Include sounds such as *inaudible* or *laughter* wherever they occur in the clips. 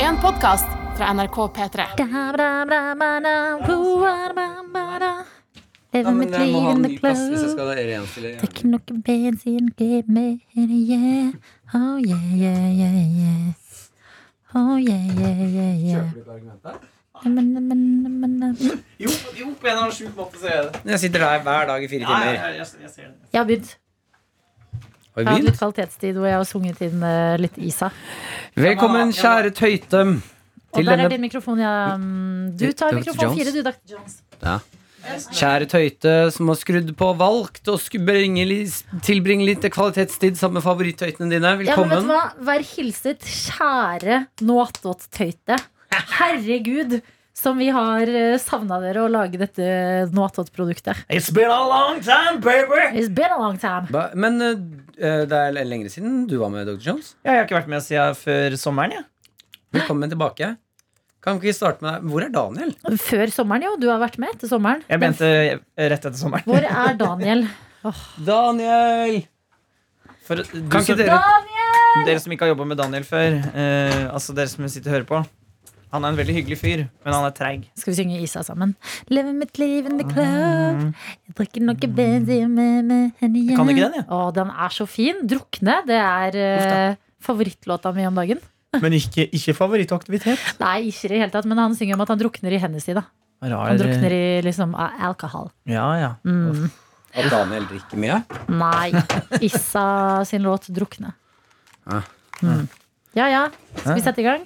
en podkast fra NRK P3. Ja, Leve men mitt jeg må liv ha in en the ny plass hvis club. jeg skal renstille Det er ikke noe bensin, give me it, yeah. Oh yeah, yeah, yeah, yeah. Oh yeah, yeah, yeah, yeah. Nei, Men, nei, men, nei, men, nei, men. Jo, jo, på en eller annen sjuk måte ser jeg det. Jeg sitter der hver dag i fire Ja, jeg, timer. jeg, jeg, jeg ser det. Jeg har bydd. Har Jeg har vi hatt litt begynt? kvalitetstid hvor jeg har sunget inn eh, litt Isa. Velkommen, kjære Tøyte. Og Til der er denne din mikrofon, ja. Mm, Du tar Dr. mikrofon Jones. fire, du, Dr. Jones. kjære Tøyte som har skrudd på og valgt å sku- bringe li- tilbringe litt kvalitetstid sammen med favorittøytene dine. Ja, men vet du Velkommen. hva? Vær hilset, kjære Nåtått-tøyte. Herregud, som vi har savna dere å lage dette Nåtått-produktet. It's been a long time, baby! It's been a long time. Ba- Men eh, det er lengre siden du var med, Dr. Jones. Ja, jeg har ikke vært med siden før sommeren, jeg. Velkommen tilbake. Kan ikke vi starte med deg? Hvor er Daniel? Før sommeren, jo. Du har vært med etter sommeren. Jeg mente rett etter sommeren. Hvor er Daniel? Daniel! *laughs* For, du, Kan ikke som, dere dere som ikke har jobba med Daniel før, eh, altså dere som sitter og hører på Han er en veldig hyggelig fyr, men han er treig. Skal vi synge Isa sammen? Leve mitt liv in the club. Jeg drikker noe bensin med med henne igjen. Mm. Kan du ikke den, ja? Å, den er så fin. Drukne. Det er eh, favorittlåta mi om dagen. Men ikke, ikke favorittaktivitet. Nei, ikke i det hele tatt, men han synger om at han drukner i hennes tid. da. Rar. Han drukner i liksom a- alkohol. Ja, ja. Mm. At Daniel drikker mye? Nei. Issa sin låt 'Drukne'. Ah. Mm. Ja ja, skal Ah. vi sette i gang?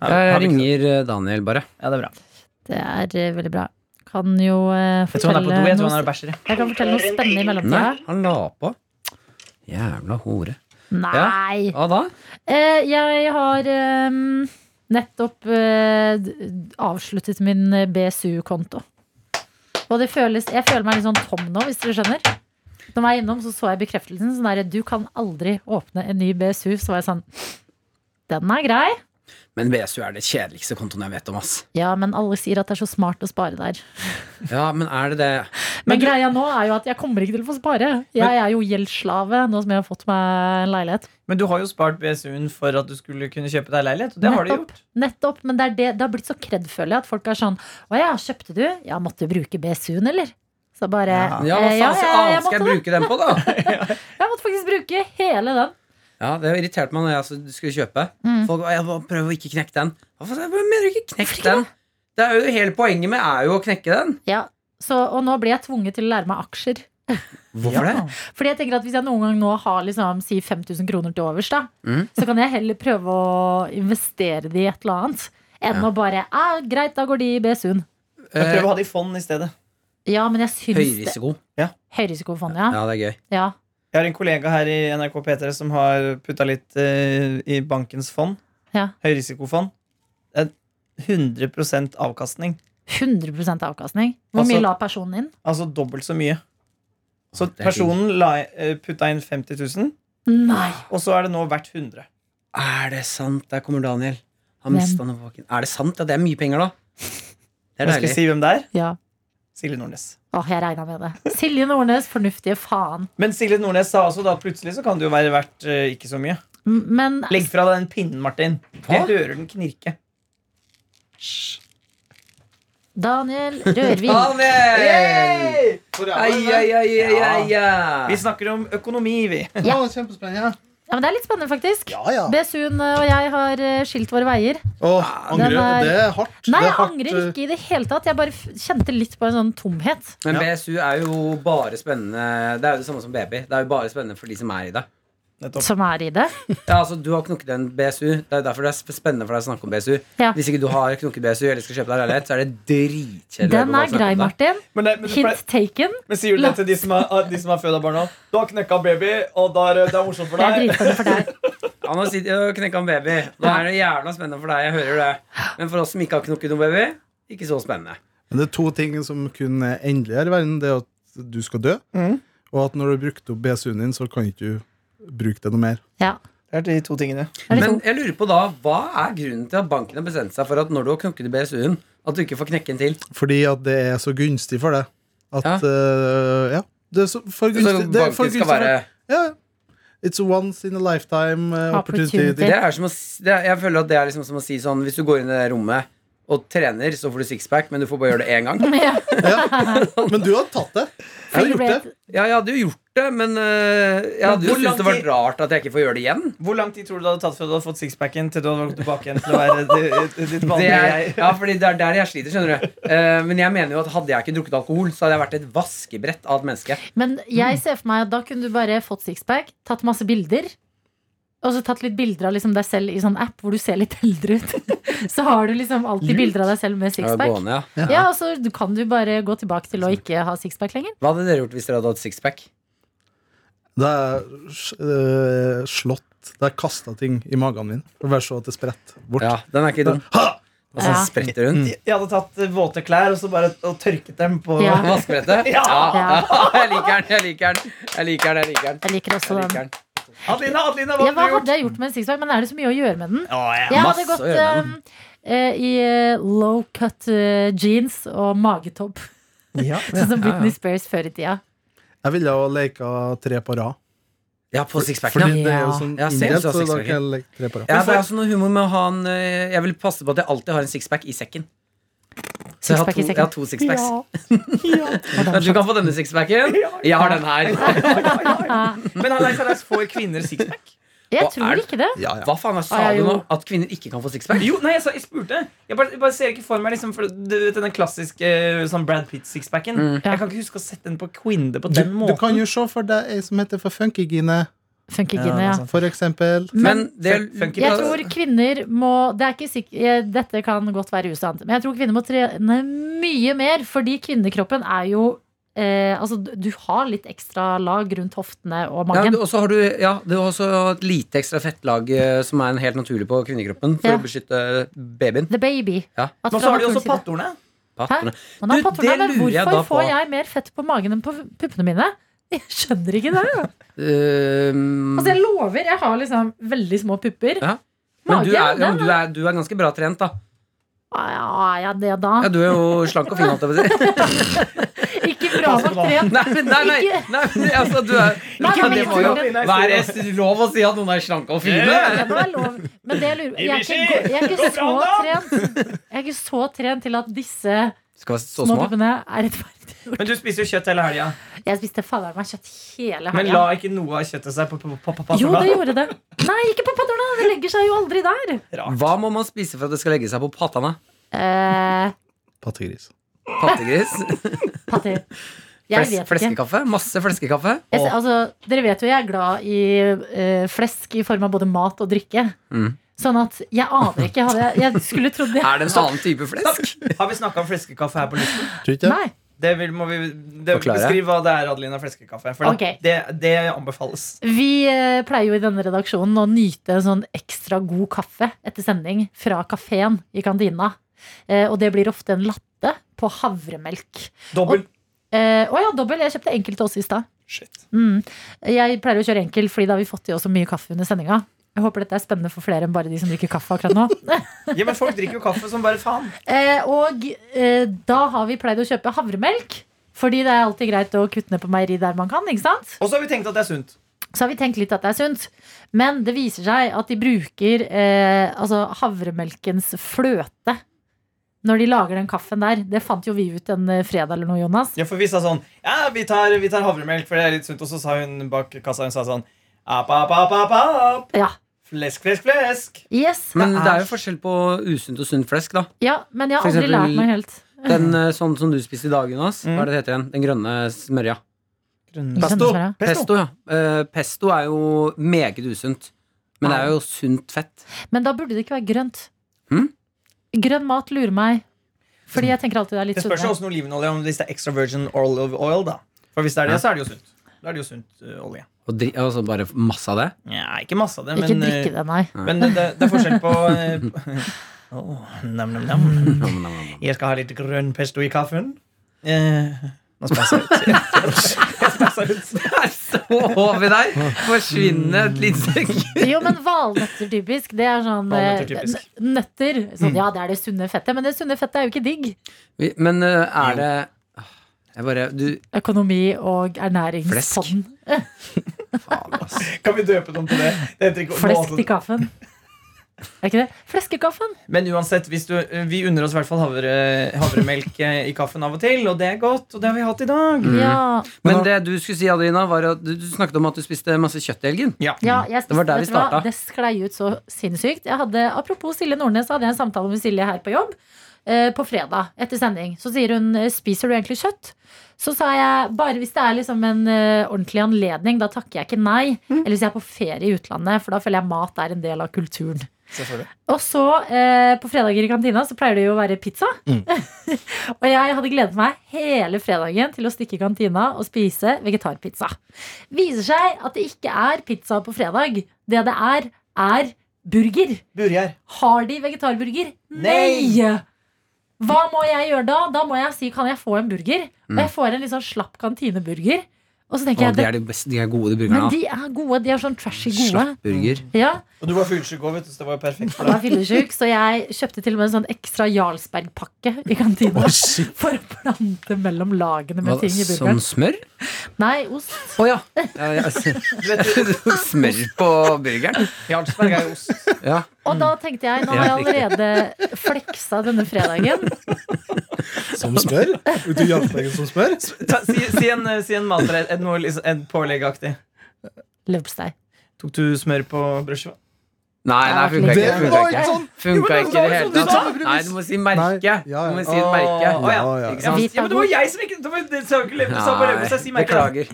Jeg ringer eh, Daniel, bare. Ja, det er bra. Det er eh, veldig bra. Kan jo eh, Jeg tror fortelle han er på do. Jeg tror han noe, er og bæsjer. jeg. jeg kan fortelle noe spennende i mellomtida. Nei, han la på. Jævla hore. Nei! Hva da? Eh, jeg har eh, nettopp eh, d- avsluttet min eh, BSU-konto. Og det føles, jeg føler meg litt sånn tom nå, hvis dere skjønner. Når jeg var innom, så så jeg bekreftelsen. Sånn der, du kan aldri åpne en ny BSU. Så var jeg sånn Den er grei. Men BSU er det kjedeligste kontoen jeg vet om, ass. Ja, men alle sier at det er så smart å spare der. Ja, men er det det? Men, greia nå er jo at jeg kommer ikke til å få spare. Jeg er jo gjeldsslave nå som jeg har fått meg en leilighet. Men du har jo spart BSU-en for at du skulle kunne kjøpe deg leilighet, og det har du Nettopp. gjort. Nettopp, men det, er det, det har blitt så kredd, føler jeg, at folk er sånn Å ja, kjøpte du? Ja, måtte du bruke BSU-en, eller? Så bare Ja. Ja, hva «Eh, faen så jeg, annet skal måtte jeg det. bruke den på, da? Jeg måtte faktisk bruke hele den. Ja, Det irriterte meg når jeg altså skulle kjøpe. Mm. Folk bare, jeg bare prøver å ikke knekke den. Hva faen, jeg mener du ikke knekk den? Det er jo Hele poenget med er jo å knekke den. Ja. Så, og nå blir jeg tvunget til å lære meg aksjer. Hvorfor det? Fordi jeg tenker at Hvis jeg noen gang nå har liksom, si 5000 kroner til overs, da, Mm. så kan jeg heller prøve å investere det i et eller annet. Enn Ja. å bare «Ah, Greit, da går de i BSU-en. Men Eh, prøv å ha det i fond i stedet. Ja, men jeg syns det- Høyrisiko. Høyrisikofond, ja. Ja, det er gøy. ja. Jeg har en kollega her i NRK P3 som har putta litt eh, i bankens fond. Ja. Høyrisikofond. Det er 100 avkastning. 100 avkastning. Hvor Altså- mye la personen inn? Altså dobbelt så mye. Så Det er personen la, eh, putta inn 50 000, Nei! og så er det nå verdt 100. Er det sant? Der kommer Daniel. Han Hvem? mista noe på bakken. Er det sant? Ja, det er mye penger, da. Det er Jeg skal deilig. si hvem det er. Ja. Silje Nordnes. Åh, jeg regna med det. Silje Nordnes, fornuftige faen. Men Silje Nordnes sa også da at plutselig så kan det jo være verdt eh, ikke så mye. M- Men Legg fra deg den pinnen, Martin. Hva? Jeg hører den knirke. Daniel *laughs* Rørvik Daniel! Hvor Ai, er ai, det? ai, ai, Ja. ai, ai. Vi snakker om økonomi, vi. *laughs* Ja, kjempespennende. ja, men Det er litt spennende, faktisk. Ja, ja. BSU-en og jeg har eh, skilt våre veier. Åh, angrer. Den er- Det er hardt. Nei, det jeg er hardt. eh, angrer ikke i det hele tatt. Jeg bare f- kjente litt på en sånn tomhet. Men Ja. BSU er jo bare spennende Det er jo det samme som baby. Det er jo bare spennende for de som er i det. Nettopp. Som er i det. Ja, altså, Du har knukket en BSU. Det er jo derfor det er sp- spennende for deg å snakke om BSU. Ja. Hvis ikke du har knukket BSU eller skal kjøpe deg leilighet, så er det dritkjedelig. Den å er snakke grei, om det. Martin. Men, det, men, du pleier- Hint taken. men sier du det til de som har, de som har føda barn nå? Du har knekka baby, og da er det det er morsomt for Det er deg. dritspennende for deg. Han har sittet og knekka en baby. Da er det jævla spennende for deg. Jeg hører det. Men for oss som ikke har knukket noen baby, ikke så spennende. Men det er to ting som kun er endelig her i verden. Det er at du skal dø, Mm. Mhm. og at når du har brukt opp BSU-en din, så kan ikke du bruke det noe mer. Ja. Det er de to tingene. Det er litt Men sånn- jeg lurer på da, hva er grunnen til at banken har bestemt seg for at når du har knukket i BSU-en, at du ikke får knekke en til? Fordi at det er så gunstig for deg. At, Ja. eh, ja. Det er så for Så gunstig, det er for Altså, banken gunstig skal for være Ja. It's a once in a lifetime eh, opportunity. Opportunity. Det er som å, s- det er, jeg føler at det er liksom som å si sånn Hvis du går inn i det rommet og trener, så får du sixpack, men du får bare gjøre det én gang. sånn- *laughs* Ja. *laughs* Men du har tatt det. Du har gjort det. Ja, jeg hadde jo gjort det, men øh, jeg hadde jo hvor lang syntes det var tid- rart at jeg ikke får gjøre det igjen. Hvor lang tid tror du det hadde tatt før du hadde fått sixpacken til du hadde gått tilbake igjen til å være ditt- ditt Det vanlige er, jeg? ja, fordi det er der jeg sliter, skjønner du. Eh, men jeg mener jo at hadde jeg ikke drukket alkohol, så hadde jeg vært et vaskebrett av et menneske. Men Mm. jeg ser for meg at da kunne du bare fått sixpack, tatt masse bilder. Og så tatt litt bilder av liksom deg selv i sånn app hvor du ser litt *laughs* eldre ut. Så har du liksom alltid bilder av deg selv med sixpack. Gående, Sånn. ja. Ja, og så du- kan du bare gå tilbake til å ikke ha sixpack lenger. Hva hadde dere gjort hvis dere hadde hatt sixpack? Det er eh, slått Det er kasta ting i magen min. For bare så at det spretter bort. Ja, den er ikke dum. Og så Ja. spretter hun. Jeg hadde tatt eh, våte klær og så bare og tørket dem på Ja. Vaskebrettet? Ja. *laughs* Jeg liker den, jeg liker den. Jeg liker den, jeg liker den. Jeg liker også Jeg den. liker den. Adelina, Adelina, hva Ja, hva hadde du gjort? hadde jeg gjort med en sixpack? Men er det så mye å gjøre med den? Å, ja. Jeg masse hadde gått å gjøre med eh, eh, i eh, low cut eh, jeans og magetopp. Ja. *laughs* Sånn som Britney Spears før i tida. Jeg ville ha leka tre på rad. Ja, på sixpacken, ja. Fordi det er jo sånn Ja, ser du inndelt, så så da sexy, kan jeg leke tre på rad. Ja, det er også noe humor med å ha en øh, Jeg vil passe på at jeg alltid har en sixpack i sekken. Så jeg har Sixpack i to, sekken. jeg har to sixpacks. Ja. Men Du kan få denne *laughs* sixpacken. Jeg har den her. Men han er seriøst, får kvinner sixpack? Hva Jeg er tror det? ikke det. Ja, ja. Hva faen er sa Ja, du nå? jo. At kvinner ikke kan få sixpack? Jo, nei, jeg, sa, jeg spurte. Jeg bare, jeg bare ser ikke for meg liksom, for, du vet, den klassiske eh, sånn Brad Pitt-sixpacken. Mm. Jeg kan ikke huske å sette den på kvinne på Du, den du måten. kan jo se for deg ei som heter for Funkygine, Funker Ja, ikke det ja. altså. er sant. for eksempel. Men det Funky Jeg tror kvinner må det er ikke sikk- eh, Dette kan godt være usant, men jeg tror kvinner må trene mye mer. Fordi kvinnekroppen er jo eh, Altså, du du har litt ekstra lag rundt hoftene og ja, magen. du- og så har du, ja, du har også et lite ekstra fettlag eh, som er en helt naturlig på kvinnekroppen for Ja. å beskytte babyen. The baby. Ja. At Men fra så har de jo naturens også side- pattorene. Pattene. Man har Du, pattorene, det men lurer jeg hvorfor da på. får jeg mer fett på magen enn på puppene mine? Jeg skjønner ikke det. Ehm, Altså, jeg lover, jeg har liksom veldig små pupper. Ja. men Magen, du er, ja, men den du, er, du er ganske bra trent, da. Ja, ja, det da. Ja, du er jo slank og fin. holdt jeg på å si. *laughs* Ikke bra Altså, nok trent. Nei, men nei, nei, Ikke- nei, men altså, du er Nei, men det men må jo ikke være lov å si at noen er slanke Ja, og fine. det er lov. Men det jeg lurer jeg er, ikke, go- jeg, er ikke så trent. jeg er ikke så trent til at disse Skal være små så små. puppene er rettferdige. Men du spiser jo kjøtt hele helga. Jeg spiste fader meg kjøtt hele Men helga. la ikke noe av kjøttet seg på, på, på, på Jo, det pattorene. gjorde det. Nei, ikke på padderne! Det legger seg jo aldri der. Hva må man spise for at det skal legge seg på pattene? Eh, Pattegris. Pattegris? Patti. *laughs* Jeg Fles, vet ikke. fleskekaffe? Masse fleskekaffe? Jeg, ser- altså, dere vet jo jeg er glad i eh, flesk i form av både mat og drikke. Mm. Sånn at jeg aner ikke. Hadde jeg, jeg skulle trodd det. Er det en annen type flesk? Har vi snakka om fleskekaffe her på luften? Tror ikke *laughs* jeg. Nei. Det vil, må vi, det, Forklare. beskriv hva det er, Adelina fleskekaffe. For Ok. det, det anbefales. Vi eh, pleier jo i denne redaksjonen å nyte en sånn ekstra god kaffe etter sending fra kafeen i kantina. Eh, og det blir ofte en latte på havremelk. Dobbel. Eh, Å ja, dobbel. Jeg kjøpte enkel til oss i stad. Mm. Jeg pleier å kjøre enkel, fordi da har vi fått i oss så mye kaffe under sendinga. Jeg håper dette er spennende for flere enn bare de som drikker kaffe akkurat nå. Ja, men folk drikker jo kaffe som bare faen. Eh, og eh, da har vi pleid å kjøpe havremelk. Fordi det er alltid greit å kutte ned på meieri der man kan. ikke sant? Og så har vi tenkt at det er sunt. Så har vi tenkt litt at det er sunt. Men det viser seg at de bruker eh, altså havremelkens fløte når de lager den kaffen der. Det fant jo vi ut en eh, fredag eller noe, Jonas. Ja, for vi sa sånn Ja, vi tar, vi tar havremelk, for det er litt sunt. Og så sa hun bak kassa hun sa sånn Ap, ap, ap, ap, ap. Ja. Flesk, flesk, flesk. Yes. Men det er jo forskjell på usunt og sunt flesk, da. Ja, men jeg har For aldri eksempel- lært meg helt. Den eh, sånn som du spiste i dag, Jonas. Hva er det det heter igjen? Den grønne smørja. Pesto. Pesto, ja. Eh, pesto er jo meget usunt. Men det er jo sunt fett. Men da burde det ikke være grønt. Hm? Sånn. Grønn mat lurer meg. Fordi jeg tenker alltid det er litt Det spørs jo sunnere. åssen olivenolje om hvis det er extra virgin olive oil, da. For hvis det er det, så er det jo sunt. Da er det jo sunt eh, olje. Og, dri og så bare masse av det. Ja, ikke masse av det, Ikke men eh, drikke det, nei. Men det, det er forskjell på eh, *laughs* Åh, nam, nam, nam. Nom, nom, nom. Jeg skal ha litt grønn pesto i kaffen. Eh, nå spæsser jeg ut. *laughs* Jeg spæsser ut. Der så vi deg forsvinne et lite sekund. Jo, men valnøtter typisk. Det er sånn eh, Valnøtter typisk. n- Nøtter. Mm. Sånn, ja, det er det sunne fettet. Men det sunne fettet er jo ikke digg. Vi- Men eh, er det Jeg bare Du, Økonomi og Flesk. ernæringspodden. Faen, ass. Kan vi døpe dem til det? det heter ikke, Flesk til kaffen. Er ikke det? Fleskekaffen! Men uansett, hvis du, eh, vi unner oss i hvert fall havre, havremelk eh, i kaffen av og til, og det er godt, og det har vi hatt i dag. Mm. Ja, Men det du skulle si, Adelina, var at du du snakket om at du spiste masse kjøtt i helgen. Ja. ja, jeg spiste, Det var der vet vi du hva? starta. Det sklei ut så sinnssykt. Jeg hadde, apropos Silje Nordnes, så hadde jeg en samtale med Silje her på jobb eh, på fredag etter sending. Så sier hun eh, 'Spiser du egentlig kjøtt?' Så sa jeg bare hvis det er liksom en eh, ordentlig anledning, da takker jeg ikke nei. Mm. Eller hvis jeg er på ferie i utlandet, for da føler jeg mat er en del av kulturen. Selvfølgelig. Og så, eh, på fredager i kantina, så pleier det jo å være pizza. Mm. *laughs* og jeg hadde gledet meg hele fredagen til å stikke i kantina og spise vegetarpizza. Viser seg at det ikke er pizza på fredag. Det det er, er burger. Burger. Har de vegetarburger? Nei! Hva må jeg gjøre da? Da må jeg si kan jeg få en burger? Og jeg får en litt sånn slapp kantineburger. Og så tenker jeg Mm. Å, de det, er de beste, de er gode, de Men burgerne. da. de er gode. De er sånn trashy gode. Slappburger. Ja Og du var fyllesyk òg, vet du, så det var jo perfekt Jeg for var deg. fyllesyk, så jeg kjøpte til og med en sånn ekstra Jarlsberg-pakke i kantina. For å blande mellom lagene med Hva, ting i burgeren. sånn Som smør? Nei, ost. Å ja. ja, ja altså, *laughs* Du *laughs* vet, du tok smør på burgeren? Jarlsberg er jo ost. Ja. Og da tenkte jeg, nå har jeg allerede fleksa denne fredagen. Som spør? Ute i Jarlsbergen som spør? Ta, si, si en, eh, si en matrett, en, noe liksom- en påleggaktig. Leverpostei. Tok du smør på brødskiva? Nei, nei, Det funka ikke. var Funka ikke ikke, sånn. funka Jo, men ikke i det det var hele sånn tatt. du sa. Nei, du må si merke. Nei, ja, ja. Du må si et merke. Å, ja. Ja, Ikke ja. Ja, sant? Vi- men det var jeg som ikke Det var det sa jo ikke Leverpostei, sa bare leverpostei, si Nei, merke. beklager.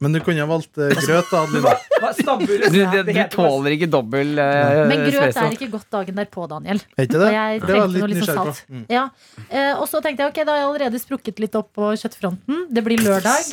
Men du kunne ha valgt eh, grøt, da, Adelina. Hva- Stabburet. Du, det, du Det heter bare- tåler ikke dobbel uh, Men grøt er ikke godt dagen derpå, Daniel. Er ikke Og det? jeg Eh, Det var trengte noe litt litt sånn nysgjerrig salt. på. Mm. Ja. Eh, og så tenkte jeg ok, da har jeg allerede sprukket litt opp på kjøttfronten. Det blir lørdag.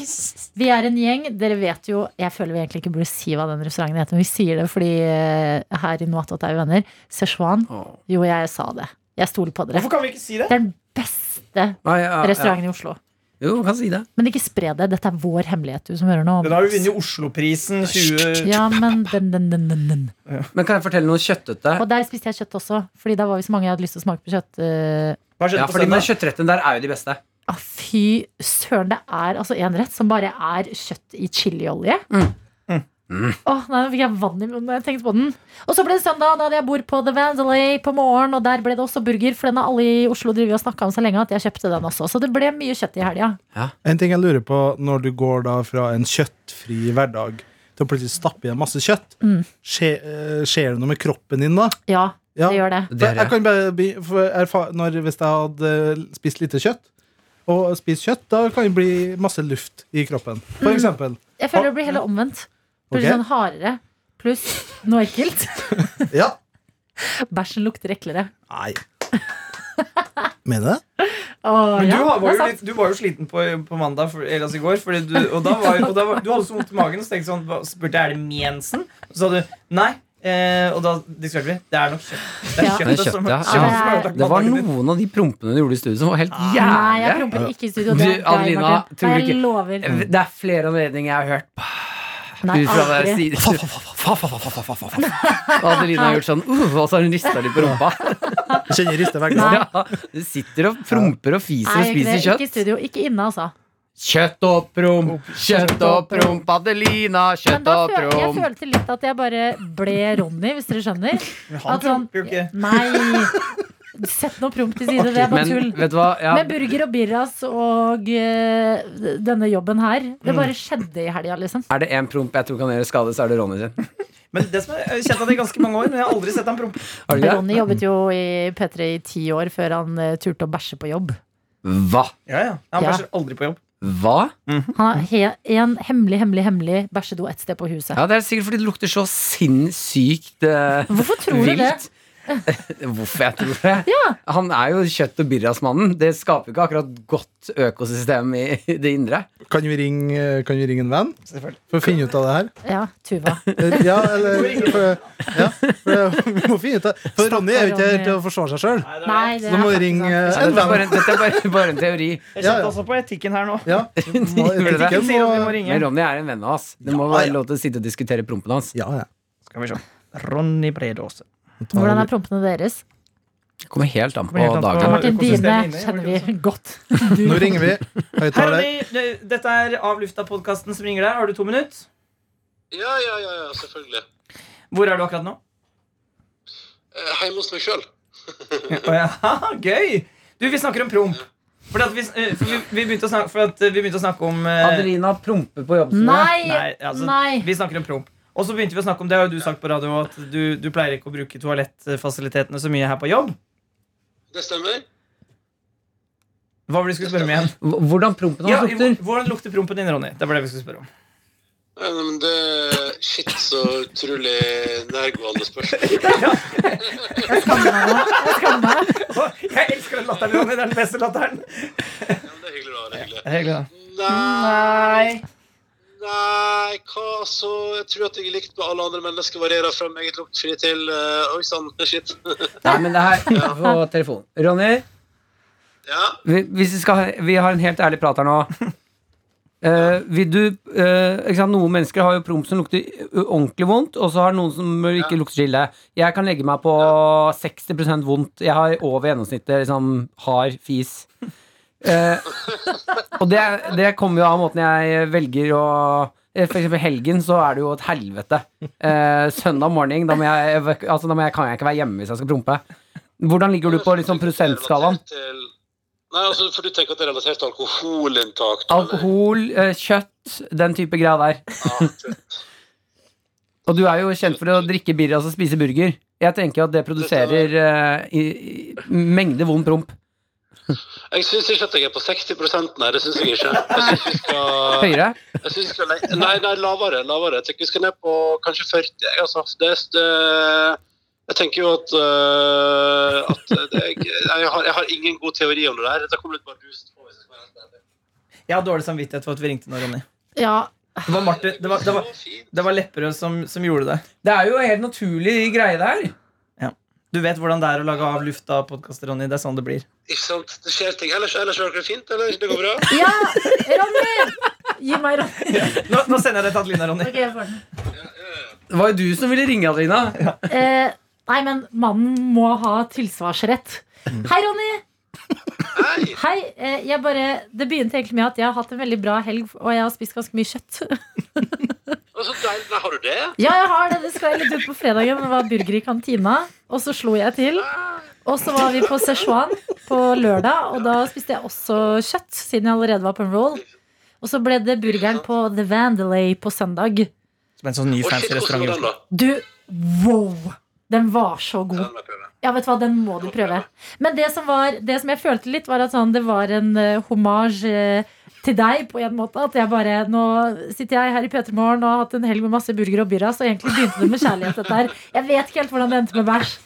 Vi er en gjeng. Dere vet jo Jeg føler vi egentlig ikke burde si hva den restauranten heter, men vi sier det fordi eh, her i Noatot er vi venner. Szechuan. Åh. Jo, jeg sa det. Jeg stoler på dere. Hvorfor kan vi ikke si det? Det er den beste Nei, ja, ja. restauranten i Oslo. Jo, kan si det. Men ikke spre det. Dette er vår hemmelighet, du som hører nå. Den har jo vunnet Osloprisen 20... Ja, men den, den, den, den, den. Men kan jeg fortelle noe kjøttete? Og der spiste jeg kjøtt også, Fordi da var vi så mange jeg hadde lyst til å smake på kjøtt. eh, Hva skjedde Ja, på fordi men søndag? Kjøttrettene der er jo de beste. Ah, fy søren, det er altså en rett som bare er kjøtt i chiliolje. Mm. Åh, nei, Nå fikk jeg vann i munnen når jeg tenkte på den. Og så ble det søndag, da hadde jeg bord på The Vandelay på morgen. Og der ble det også burger, for den har alle i Oslo drevet og snakka om så lenge at jeg kjøpte den også. Så det ble mye kjøtt i helga. En ting jeg lurer på når du går da fra en kjøttfri hverdag til å plutselig stappe i deg masse kjøtt, Mm. skje, eh, skjer det noe med kroppen din da? Ja, Ja. det gjør det. For jeg kan bare bli, for erfa når, Hvis jeg hadde eh, spist lite kjøtt, og spist kjøtt, da kan det bli masse luft i kroppen. For Mm. eksempel. Jeg føler det blir heller omvendt. Det blir Ok. sånn hardere. Pluss noe ekkelt. *laughs* Ja. Bæsjen lukter eklere. Nei. Mener du det? Åh, Men ja, du, har- det var er jo sant. litt, du var jo sliten på, på mandag, for, eller altså i går. Fordi du, og da var, og da var, du hadde så vondt i magen, så tenkte jeg sånn, hva- spurte jeg er det mensen. Og så sa du nei. Eh, og da diskuterte vi. Det er nok kjøtt. Det er Ja. Det er kjøttet som- kjøttet, ja. kjøttet som har ødelagt Det var mandagen din. noen av de prompene du gjorde i studio som var helt Ah. Nei, jeg jævlig. promper ikke i studio. Du, Det er deg, Adelina, Martin. tror du Nei, ikke- Eh, Jeg lover. Det er flere anledninger jeg har hørt Nei, ut fra hver aldri. side. *laughs* Og Adelina har gjort sånn, uh, og så har hun rista litt på *laughs* rumpa. *laughs* Jeg kjenner jeg rister hver gang. Ja, du sitter og promper og fiser og Nei, ikke, det. spiser ikke i kjøtt. studio. Ikke inne, altså. Kjøtt og promp, kjøtt og promp, Adelina, Men kjøtt da og føl jeg promp. følte litt at jeg bare ble Ronny, hvis dere skjønner. Han At sånn, tror jo ikke nei, sett noe promp til side, det er bare Men tull. vet du hva? Ja, Med burger og birras og eh, denne jobben her. Mm. Det bare skjedde i helga, liksom. er det én promp jeg tror kan gjøre skade, så er det Ronny sin. Men det som er, Jeg har kjent han i ganske mange år, men jeg har aldri sett han prompe. Har du det? Ronny jobbet jo i P3 i ti år før han eh, turte å bæsje på jobb. Hva? Ja, ja. Han Ja. bæsjer aldri på jobb. Hva? Han har he en hemmelig, hemmelig, hemmelig bæsjedo et sted på huset. Ja, det er sikkert fordi det lukter så sinnssykt eh, Hvorfor tror du det? vilt. *laughs* Hvorfor jeg tror det? Han er jo kjøtt- og birrasmannen. Det skaper jo ikke akkurat godt økosystem i *laughs* det indre. Kan vi ringe, kan vi ringe en venn Selvfølgelig. for å finne ut av det her? Ja, Tuva. Eh, Ja, eller for, ja, for, *laughs* Vi må finne ut av For Ronny er jo ikke her til å forsvare seg sjøl. Nei, det Så da er må vi faktisk ringe sant. Dette en er bare, venn. dette er bare, bare en teori. Jeg Ja, kjente ja. også på etikken her nå. Ja, vi må, Gjorde *laughs* det? etikken Hun sier at vi må- må ringe. Men Ronny er en venn av oss. Det må Ja, være ja. lov til å sitte og diskutere prompen hans. ja, ja. Skal vi se. Ronny Bredåse. Hvordan er prompene deres? Det kommer helt an på Kommer helt an på- dagen. Martin, økosystemet dine inne, kjenner var det vi godt. Nå ringer vi. Hei, Høyttaler. Ronny. Dette er Av lufta-podkasten som ringer deg. Har du to minutter? Ja, ja, ja, ja selvfølgelig. Hvor er du akkurat nå? Eh, Hjemme hos meg sjøl. Å ja, *laughs* gøy! Du, vi snakker om promp. Fordi at vi, eh, for vi, vi, begynte å snakke, for at eh, vi begynte å snakke om eh, Adelina promper på jobb. Nei! Nei, altså, nei. Vi snakker om promp. Og så begynte vi å snakke om det, har jo du sagt på radio at du, du pleier ikke å bruke toalettfasilitetene så mye her på jobb. Det stemmer. Hva var det du skulle spørre om igjen? Hvordan prompen Ja, hans lukter? hvordan lukter prompen din, Ronny? Det var det vi skulle spørre om. *laughs* Ja, Eh, men det Shit, så utrolig nærgående *laughs* spørsmål. Jeg skammer meg nå. Jeg skammer meg. Jeg elsker den latteren, Ronny. Det er den beste latteren. Ja, men det er hyggelig, da. Det er hyggelig. Hyggelig, da. Nei Nei, hva så? Jeg tror at jeg er likt med alle andre mennesker. Varierer fra meget luktfri til eh, Oi sann, *laughs* shit. Nei, men det her På telefon. Ronny, ja. vi, hvis vi, skal, ha- vi har en helt ærlig prat her nå. Eh, vil du eh, ikke sant, Noen mennesker har jo promp som lukter ø- ordentlig vondt, og så har noen som ikke lukter så ille. Jeg kan legge meg på 60 vondt. Jeg har over gjennomsnittet liksom, hard fis. Eh, og det, det kommer jo av måten jeg velger å eh, For eksempel helgen, så er det jo et helvete. Eh, søndag morgen, da, må jeg, altså, da må jeg, kan jeg ikke være hjemme hvis jeg skal prompe. Hvordan ligger du på liksom, prosentskalaen? Relatert til- Nei, altså, for du tenker at det er relatert til alkoholinntak? da, eller? Alkohol, eh, kjøtt, den type greia der. Ja, det- Og du er jo kjent for å drikke birra og spise burger. Jeg tenker at det produserer eh, i, i mengde vond promp. Jeg syns ikke at jeg er på 60 nei. Det syns jeg ikke. Jeg synes vi skal, *laughs* Høyere. jeg synes vi skal le- Nei, nei, lavere. lavere. Jeg tenker vi skal ned på kanskje 40. jeg, Altså, det, er- det, jeg tenker jo at, øh, at det, jeg, jeg, har, jeg har ingen god teori om det der. Dette kommer litt bardust på. hvis jeg skal være helt ærlig. Jeg har dårlig samvittighet for at vi ringte nå, Ronny. Ja, Det var, Martin, det var, det var, Så fint. det var Lepperød som, som gjorde det. Det er jo en helt naturlig greie der. Du vet hvordan det er å lage av lufta podkaster, Ronny. Det er sånn det blir. Ikke sant? Det skjer ting. Ellers, ellers er det fint, eller? Det går bra? ja Ronny! *laughs* Gi meg Ronny. Nå, nå sender jeg det til Adelina, Ronny. Ok, jeg får den. Det var jo du som ville ringe, Adelina. Eh, nei, men mannen må ha tilsvarsrett. Hei, Ronny. Hei! Hei. Eh, jeg bare, det begynte egentlig med at jeg har hatt en veldig bra helg, og jeg har spist ganske mye kjøtt. Og så deilig. Nei, har du det? Ja, jeg har det. Det skal jeg litt ut på fredagen. Det var burger i kantina, og så slo jeg til. Og så var vi på Szechuan på lørdag, og da spiste jeg også kjøtt, siden jeg allerede var på en roll. Og så ble det burgeren på The Vandelay på søndag. *laughs* Som en sånn ny Og shit, fancy hvordan restaurant. i var den, Oslo. da? Du, wow! Den var så Ja, god. den må jeg prøve. Ja, vet du hva, den må du prøve. Men det som, var, det som jeg følte litt, var at sånn, det var en uh, hommage eh, til deg på en måte. At jeg bare Nå sitter jeg her i P3 Morgen og har hatt en helg med masse burger og birras, og egentlig begynte det med kjærlighet, dette her. Jeg vet ikke helt hvordan det endte med bæsj.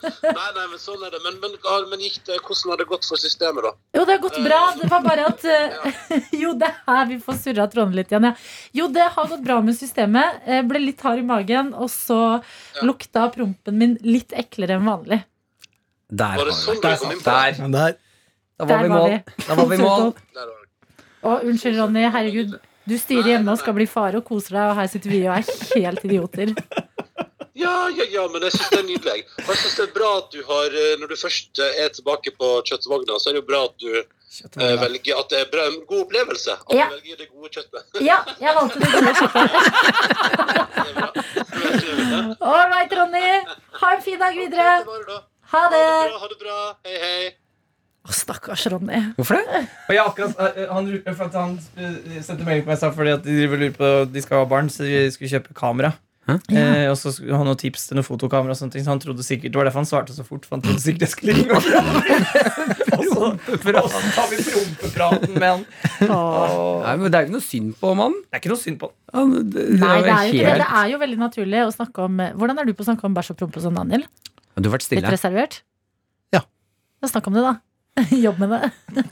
Nei, nei, men sånn er det. Men, men, ah, men gikk det, hvordan har det gått for systemet, da? Jo, det har gått bra. Det var bare at eh, *laughs* Jo, det her Vi får surra trådene litt igjen, ja. Jo, det har gått bra med systemet. Eh, ble litt hard i magen, og så lukta prompen min litt eklere enn vanlig. Der Var det sånn du kom inn på Der. det? Men der, Da var Der vi i var mål. Da var vi *laughs* i mål. Der var det. Og unnskyld, Ronny. Herregud. Du styrer hjemme og skal bli far og koser deg, og her sitter vi og er helt idioter. Ja, ja, ja, men jeg syns det er nydelig. jeg. Og jeg syns det er bra at du har eh, Når du først eh, er tilbake på kjøttvogna, så er det jo bra at du eh, velger at det er bra, en god opplevelse. At Ja. du velger det gode kjøttet. *laughs* Ja, jeg valgte det gode kjøttet. Det er bra. Det All right, Ronny. Ha en fin dag videre. var det da. Ha Ha det. det bra, ha det bra. Hei, hei. Å, stakkars Ronny. Hvorfor det? Og jeg akkurat, eh, han, lurte- for at han eh, sendte melding på meg og sa fordi at de driver og lurer på De skal ha barn, så de skulle kjøpe kamera. Hæ? Eh, og så skulle han ha noen tips til noen fotokamera. Og sånne ting, så han trodde sikkert, Det var derfor han svarte så fort. For han trodde sikkert jeg skulle ringe og *laughs* Og så og så tar vi prompepraten med han. Nei, men det er jo ikke noe synd på mannen. Det er ikke noe synd på han. Han, det, det Nei, det er jo ikke det. helt- Det er jo veldig naturlig å snakke om Hvordan er du på å snakke om bæsj og promp og sånn, Daniel? Du har vært Litt stille. reservert? Ja. Ja, Snakk om det, da. *laughs* Jobb med det.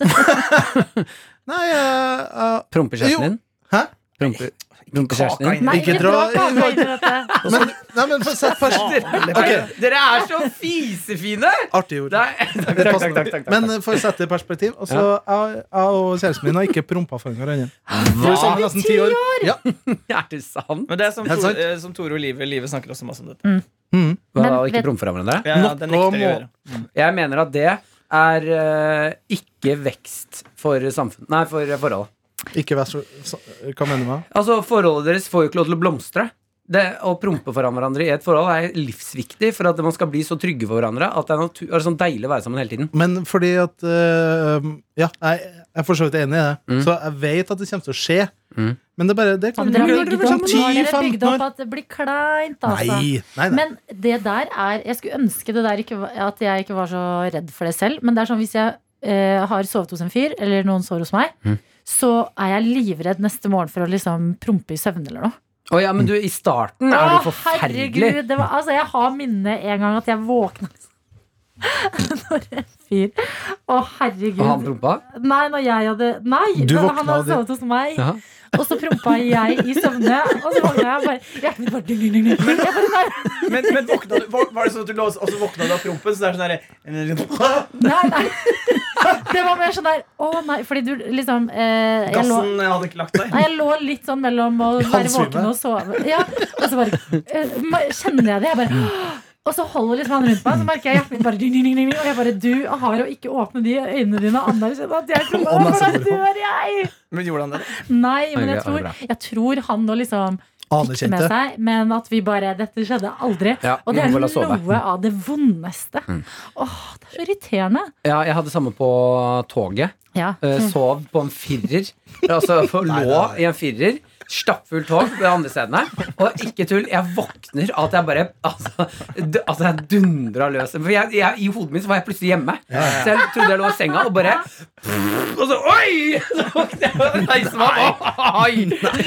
Nei, jeg, jeg Promper Jo. kjæresten din? Hæ? Promper, promper kjæresten din? Kaka inn. Ikke dra- kaka inn i dette. men, nei, men for, sett først Ok, Dere er så fisefine! *laughs* Artig ord. Takk, takk, takk, takk, takk. Men eh, for å sette det i perspektiv altså, jeg, jeg og kjæresten min har ikke prompa for hverandre. Vi er sammen i nesten ti år. Ja. Er det sant? Men det er som, Er det Tor, sant? eh, som Tore og Live. Live snakker også masse om dette. Mm. Hva Men da, å ikke vet- prompe for hverandre? Ja, ja, det nekter de å gjøre. Jeg mener at det er eh, ikke vekst for samfunnet Nei, for forholdet. Ikke vær så så- Hva mener du med det? Altså, Forholdet deres får jo ikke lov til å blomstre. Det Å prompe foran hverandre i et forhold er livsviktig for at man skal bli så trygge for hverandre at det er, natu- er sånn deilig å være sammen hele tiden. Men fordi at eh, Ja, jeg jeg er for så vidt enig i det. Så jeg vet at det kommer til å skje. Mm. Men det er bare det Men kan Dere har når dere bygd blir opp, sånn nå har dere 10-15 bygd opp år. at det blir kleint, altså. Nei, nei, nei. Men det der er Jeg skulle ønske det der ikke, var- at jeg ikke var så redd for det selv. Men det er sånn hvis jeg eh, har sovet hos en fyr, eller noen sover hos meg, Mm. så er jeg livredd neste morgen for å liksom prompe i søvne eller noe. Å ja, men du, i starten er Å, du forferdelig. herregud, det var, altså, jeg har minnet en gang at jeg våkna *laughs* når en fyr Å, herregud. Og han prompa? Nei, når jeg hadde Nei, Du men han våkna hadde av sovet hos meg. Ja. Og så prompa jeg i søvne, og så våkna jeg og bare Hjertet mitt bare ding, ding, ding, ding. Jeg bare, *laughs* nei, Men, men våkna du, var var det sånn at du lå og så våkna du av prompen? Så det er sånn der, Nei, *laughs* nei. Det var mer sånn der Å nei, fordi du liksom eh, jeg, lå, *laughs* Gassen hadde ikke lagt seg. nei, jeg lå litt sånn mellom å være Halvsvime. våken og sove. Ja, og så bare eh, ma- Kjenner jeg det? Jeg bare *gasps* og så holder liksom han rundt meg, så merker jeg hjertet mitt bare ding, ding, ding, ding, Og jeg bare Du har å ikke åpne de øynene dine og anerkjenne at jeg Å, nei, prompa. så Hvordan dør jeg? Men gjorde han det? Nei, men Angrer, jeg tror, angrer. jeg tror han nå liksom fikk det med Anerkjente. seg, men at vi bare Dette skjedde aldri. Ja, Og det vi er må la sove. Mm. noe av det vondeste. Åh, det er så irriterende. Ja, jeg hadde samme på toget. Ja. Eh, Hm. Sov på en firer. *laughs* Altså for lå i en firer. Stappfullt tog på de andre stedene. Og ikke tull, jeg våkner av at jeg bare Altså, d- altså jeg dundra løs. For jeg, jeg, i hodet mitt så var jeg plutselig hjemme. Så jeg trodde jeg lå i senga, og bare Og så oi! Så våkner jeg og reiser meg opp. Oi!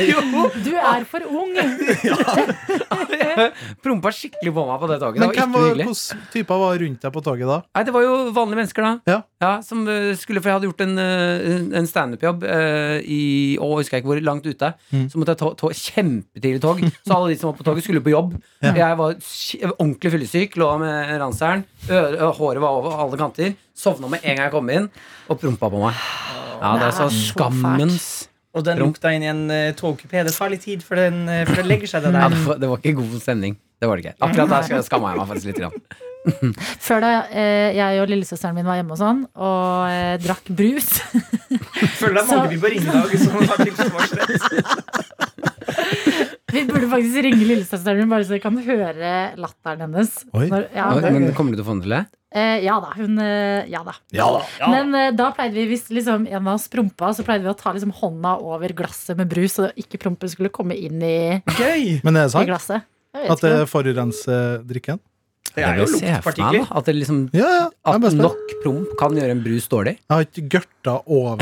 *laughs* Jo! Du er for ung. Jeg Prompa skikkelig på meg på det toget. Men Det var hvem ikke var, hyggelig. hvilke typer var rundt deg på toget da? Nei, det var jo vanlige mennesker, da. Ja. som eh, skulle, For jeg hadde gjort en, eh, en standup-jobb eh, i Å, husker jeg ikke hvor, langt ute. Så måtte jeg ta, ta kjempetidlig tog. Så alle de som var på toget, skulle på jobb. Jeg var sk- ordentlig fyllesyk, lå med ranseren. Ø- ø- Håret var over alle kanter. Sovna med en gang jeg kom inn, og prompa på meg. Ja, det er så Nei, så skammens Og den Promp. lukta inn i en eh, togkupé. Det tar litt tid før den, eh, før den legger seg. Det ja, der. det, var, det var ikke god stemning. Det var det ikke. Akkurat der skal- skamma jeg meg faktisk litt. Grann. Før da eh, jeg og lillesøsteren min var hjemme og sånn, og eh, drakk brus, *laughs* Føler det er mange Så- vi bør ringe i dag som har tilsvarsrett. Vi burde faktisk ringe lillesøsteren min, bare så vi kan høre latteren hennes. Oi. ja, Oi, det- Men kommer du til å få den til det? eh, ja da, hun eh, Ja da. Men eh, da pleide vi, hvis liksom en av oss prompa, så pleide vi å ta liksom hånda over glasset med brus, så ikke prompen skulle komme inn i, Gøy! Men er i det sant? glasset. Jeg vet At eh, ikke. det forurenser drikken? Det er jo Jeg ser for meg, luktpartikler. da, At det liksom Ja, ja. Jeg, er At bare spør. nok promp kan gjøre en brus dårlig. jeg har ikke gørta *laughs* over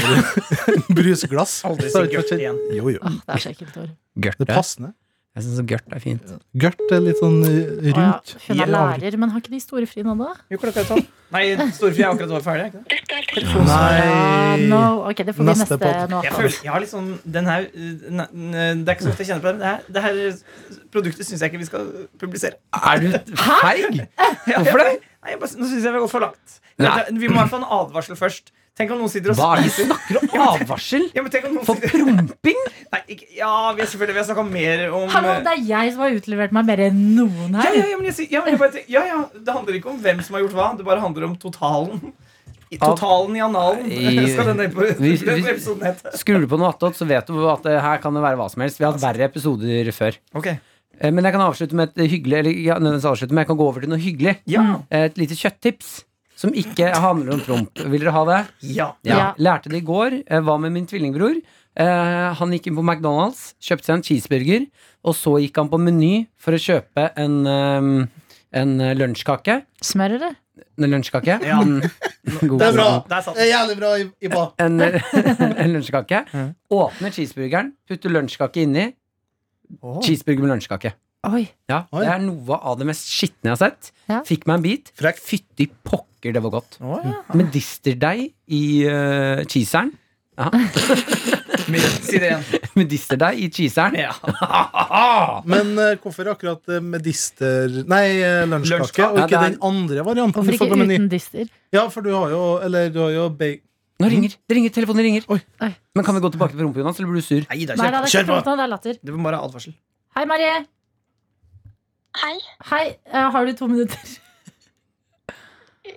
brusglass. Aldri si Så det har gørt ikke vært- igjen. Jo, jo. Åh, det er så ekkelt ord. Gørt. Det er passende. Jeg syns gørt er fint. Gørt er litt sånn eh, Å ja, rundt. Hun er Jævlig. lærer, men har ikke de store fri nå, da? Jo, klokka er tolv. Nei, storfri er akkurat nå ferdig. er ikke det? Ja, Nei. Ah, no. Ok, det får bli Neste neste, podd. nå. Jeg føler, jeg har litt sånn, den her, eh, ne- ne- det er ikke så ofte jeg kjenner på det, men det her, det her produktet syns jeg ikke vi skal publisere. Er du feig? Hvorfor det? Nei, jeg bare, nå syns jeg vi har gått for langt. Nei. Vi må i hvert fall ha en advarsel først. Tenk om noen sitter og Hva er det du spiser snakker om? Advarsel? ja, men tenk om noen For sitter, promping? *laughs* nei, ikke, Ja, vi har selvfølgelig vi har snakka mer om Hallo, eh, det er jeg som har utlevert meg mer enn noen ja, her. ja, ja, men jeg, sier- ja, men jeg bare, tenker- ja, ja, Det handler ikke om hvem som har gjort hva, det bare handler om totalen. I- Totalen i analen *laughs* I- skal denne epo- vi- vi- denne episoden hete. Skrur du på noe attåt, så vet du at det her kan det være hva som helst. Vi har hatt verre episoder før. Ok. Eh, Men jeg kan avslutte med et hyggelig Eller ikke nødvendigvis avslutte, men jeg kan gå over til noe hyggelig. Mm. Ja. Eh, Et lite kjøtttips som ikke handler om promp. Vil dere ha det? ja. Ja. Ja. Lærte det i går. eh, Hva med min tvillingbror? Eh, han gikk inn på McDonald's, kjøpte seg en cheeseburger, og så gikk han på Meny for å kjøpe en, um, en eh, lunsjkake. Smør, eller? En lunsjkake? Ja. Mm. God. Det er bra. Der satt Eh, Det er jævlig bra, Iba. En, en lunsjkake. Åpner cheeseburgeren, putter lunsjkake inni. Åh. Cheeseburger med lunsjkake. Oi. Ja, Oi. Det er noe av det mest skitne jeg har sett. Ja. Fikk meg en bit. Frekt. Fytti pokker, det var godt. Å, ja. Medisterdeig i eh, cheeseren. *laughs* Men, Si det igjen. Medisterdeig i cheeseren. Ja. Men eh, hvorfor akkurat eh, medister... Nei, eh, lunsjkake, Lunsjkake. og ikke Ja, det er- den andre varianten. Hvorfor du får ikke på meny? uten dyster? Ja, for du har jo Eller du har jo bacon Nå ringer det ringer, telefonen ringer. Oi. Oi. Men kan vi gå tilbake til rumpa, Jonas, eller blir du sur? Nei da, Nei, da, det kjør. er Kjør ikke på. prompt nå, det er latter. Det var bare advarsel. Hei, Marie. Hei. Hei, eh, har du to minutter? *laughs*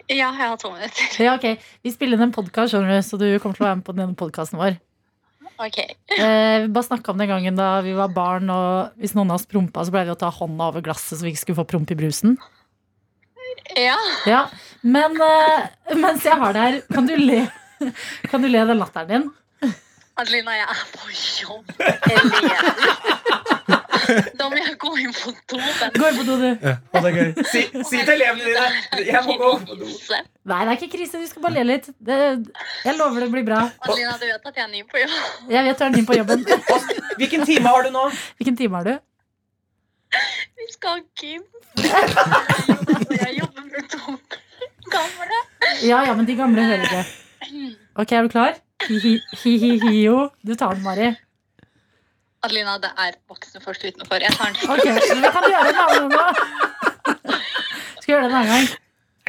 Ja, jeg har to minutter. Ja, ok. Vi spiller inn en podkast, skjønner du, så du kommer til å være med på den ene podkasten vår. Ok. Eh, vi bare snakka om den gangen da vi var barn, og hvis noen av oss prompa, så pleide vi å ta hånda over glasset så vi ikke skulle få promp i brusen. Ja. Ja, Men eh, *laughs* mens jeg har det her, kan du le, *laughs* kan du le den latteren din? Adelina, jeg er på jobb. Eller Da må jeg gå inn på do. men- Gå inn på do, du. Og det er *laughs* gøy. Si, si til elevene dine Jeg *laughs* må gå på do. Krise. Nei, det er ikke krise. Du skal bare le litt. Det, jeg lover det blir bra. Adelina, du vet at jeg er ny på jobb. Jeg vet du er ny på jobben. *laughs* Hvilken time har du nå? Hvilken time har du? Vi skal ha gym. Jeg jobber med to gamle. Ja, ja, men de gamle hører det. Ok, er du klar? Hi-hi-hi-jo. Du tar den, Mari. Adelina, det er voksne først utenfor. Jeg tar den. Ok, men kan du gjøre det en annen gang da? Skal vi gjøre det en annen gang?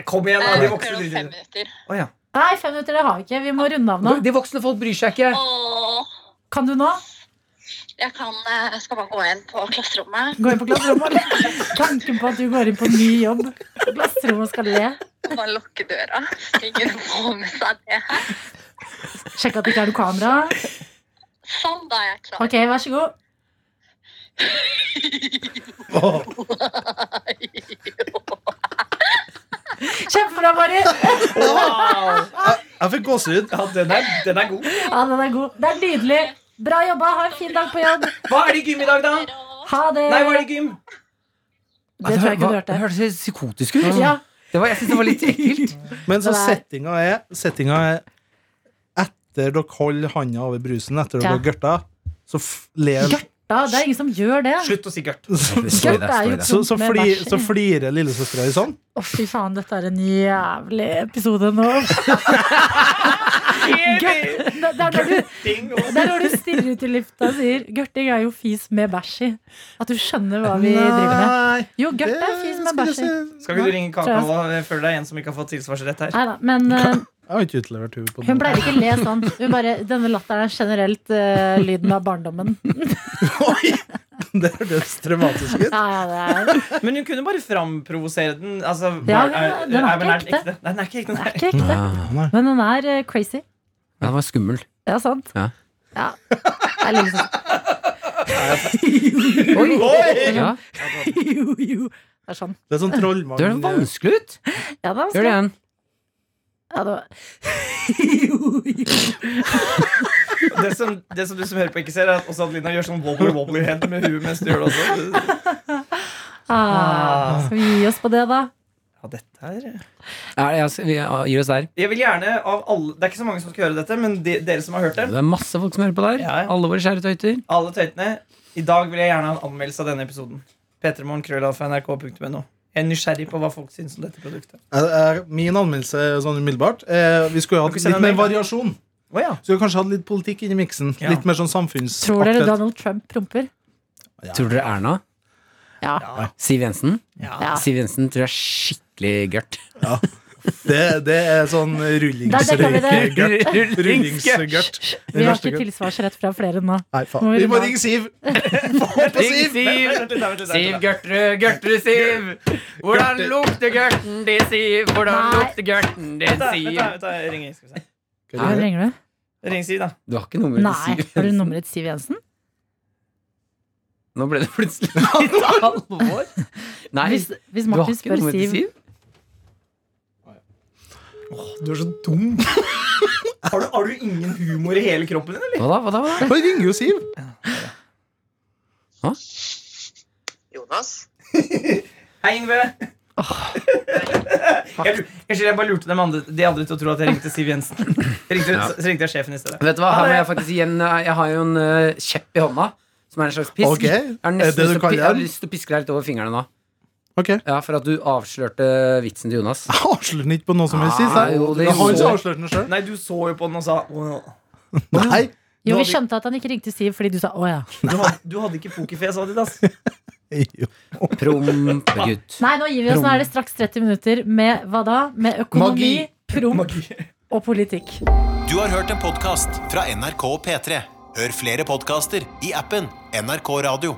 Kom igjen, da. Eh, De vi prøver voksne om fem driver. minutter. Å ja. Nei, fem minutter det har vi ikke. Vi må runde av nå. De voksne folk bryr seg ikke. Åh, Kan du nå? jeg kan, eh, jeg skal bare gå inn på klasserommet. Gå inn på klasserommet. eller? Tanken på at du går inn på ny jobb. Klasserommet skal le. og Bare lukke døra. Ingen får med seg det her. Sjekke at det ikke er noe kamera. Sånn, da er jeg klar. Ok, vær så god. Kjempebra, Mari. Wow. Jeg fikk gåsehud. Ja, den er, den er god. Ja, den er god. Det er nydelig. Bra jobba. Ha en fin dag på jobb. Hva er det i gym i dag, da? Ha det. Nei, hva er det i gym? Det tror jeg ikke du Det hørte. hørtes helt psykotisk ut. Ja, Det var, jeg syns det var litt ekkelt. Men så Det er- settinga er Settinga er etter dere holder handa over brusen etter dere Ja. har gørta, så f- ler da, det er ingen som gjør det. Slutt å si gørt. *laughs* så, Sorry, Gørt det er er- jo så, så, tungt med fli, bæsj. så flirer lillesøstera di sånn. Å, fy faen, dette er en jævlig episode nå. *laughs* Gørt- Det det er når du, Ding, det er når du stirrer ut i lufta og sier 'gørting er jo fis med bæsj i'. At du skjønner hva vi driver med. Jo, gørt er fis med skal jeg bæsj i. si- Skal ikke du ringe Tror jeg. Kakao og føle deg en som ikke har fått tilsvarsrett her? Nei da, men eh, Jeg har ikke utlevert henne på hun noe. *laughs* pleier ikke å le sånn. Hun bare, denne latteren er generelt eh, lyden av barndommen. Det hørtes traumatisk ut. Ja, ja, det er, Men hun kunne bare framprovosere den. Altså, Ja, er- ja, den er ikke men ekte. Nei, den er ikke ekte. det er Nei. ikke ekte. Nei. Men den er eh, crazy. Ja, det var skummel. Ja, sant? Ja. Ja. Det er liksom *laughs* Oi! Ja, Jo, jo. Det er sånn. Det er sånn trollmann det høres vanskelig ut. Ja, det er Gjør det igjen. Ja, det var... *laughs* jo, jo. Det, som, det som du som hører på, ikke ser, er at også Adelina gjør sånn wobbly-wobbly-head med huet mens du gjør *laughs* det også. Ah, skal vi gi oss på det, da? Ja, dette her Ja, jeg, vi gir oss der. Jeg vil gjerne av alle Det er ikke så mange som skal høre dette, men de, dere som har hørt det, Det er masse folk som hører på der. Ja, ja. Alle våre kjære tøyter. alle tøytene, i dag vil jeg gjerne ha en anmeldelse av denne episoden. P3morgenkrøllalfa.nrk.no. Jeg er nysgjerrig på hva folk syns om dette produktet. Jeg- jeg- Min anmeldelse sånn umiddelbart eh, Vi skulle hatt Dere sender litt mer en mail, da. variasjon. Å ja. Skulle kanskje hatt litt politikk inn i miksen. Ja. Litt mer sånn Tror dere samfunnsaktet. Donald Trump promper? Tror dere Erna? Ja. Siv Jensen? Ja. Siv Jensen tror jeg er skikkelig gørt. Det, det er sånn Da dekker vi det. rullingsrøyker. Rullingsgørt. Vi har ikke tilsvarsrett fra flere nå. Nei, Må faen. vi Vi må da- ringe *laughs* Siv! Få på Siv! Siv! Vent litt, vent litt, vent Siv litt. Gørtrud, Gørtrud Siv. Hvordan lukter gørten din, Siv? Hvordan Nei. lukter gørten din, Vent da, vent Siv? da, vent da, jeg ringer. Skal vi se. Hva ringer du? Ring Siv, da. Du har ikke nummeret Nei. til Siv. Har du Jensen. nummeret Siv Jensen? Nå ble det plutselig *laughs* litt alvor. Nei, Hvis, hvis du har Martin ikke spør nummeret til Siv Siv. Du er så dum. Har du, har du ingen humor i hele kroppen din, eller? Hva da? hva da, hva da? Han ringer jo Siv. Jonas? Hei, Yngve. *laughs* Jeg lu- Unnskyld, jeg bare lurte dem andre, de andre til å tro at jeg ringte Siv Jensen. Jeg ringte, Ja. Så ringte jeg sjefen i stedet. Vet du hva, Ha her må det. jeg faktisk gi en eh, Jeg har jo en eh, kjepp i hånda, som er en slags pisk. Ok, Jeg har er det nesten du lyst til å kaller pi- jeg har den? lyst til å piske deg litt over fingrene nå. Ok. Ja, For at du avslørte vitsen til *laughs* Jonas. Jeg avslører den ikke på noe som helst. Ah, jeg. jo, det Det er han gjorde som jeg. avslørte den sjøl. Nei, du så jo på den og sa «Åh, Nei. Jo, vi hadde- skjønte at han ikke ringte Siv fordi du sa 'å ja'. du, hadde, du hadde ikke pokerfjes, Adidas. Jo. Prompegutt. Nei, nå gir vi oss. Nå er det straks 30 minutter med hva da? Med økonomi, Magi. promp Magi. og politikk. Du har hørt en podcast fra NRK P3. Hør flere podcaster i appen NRK Radio.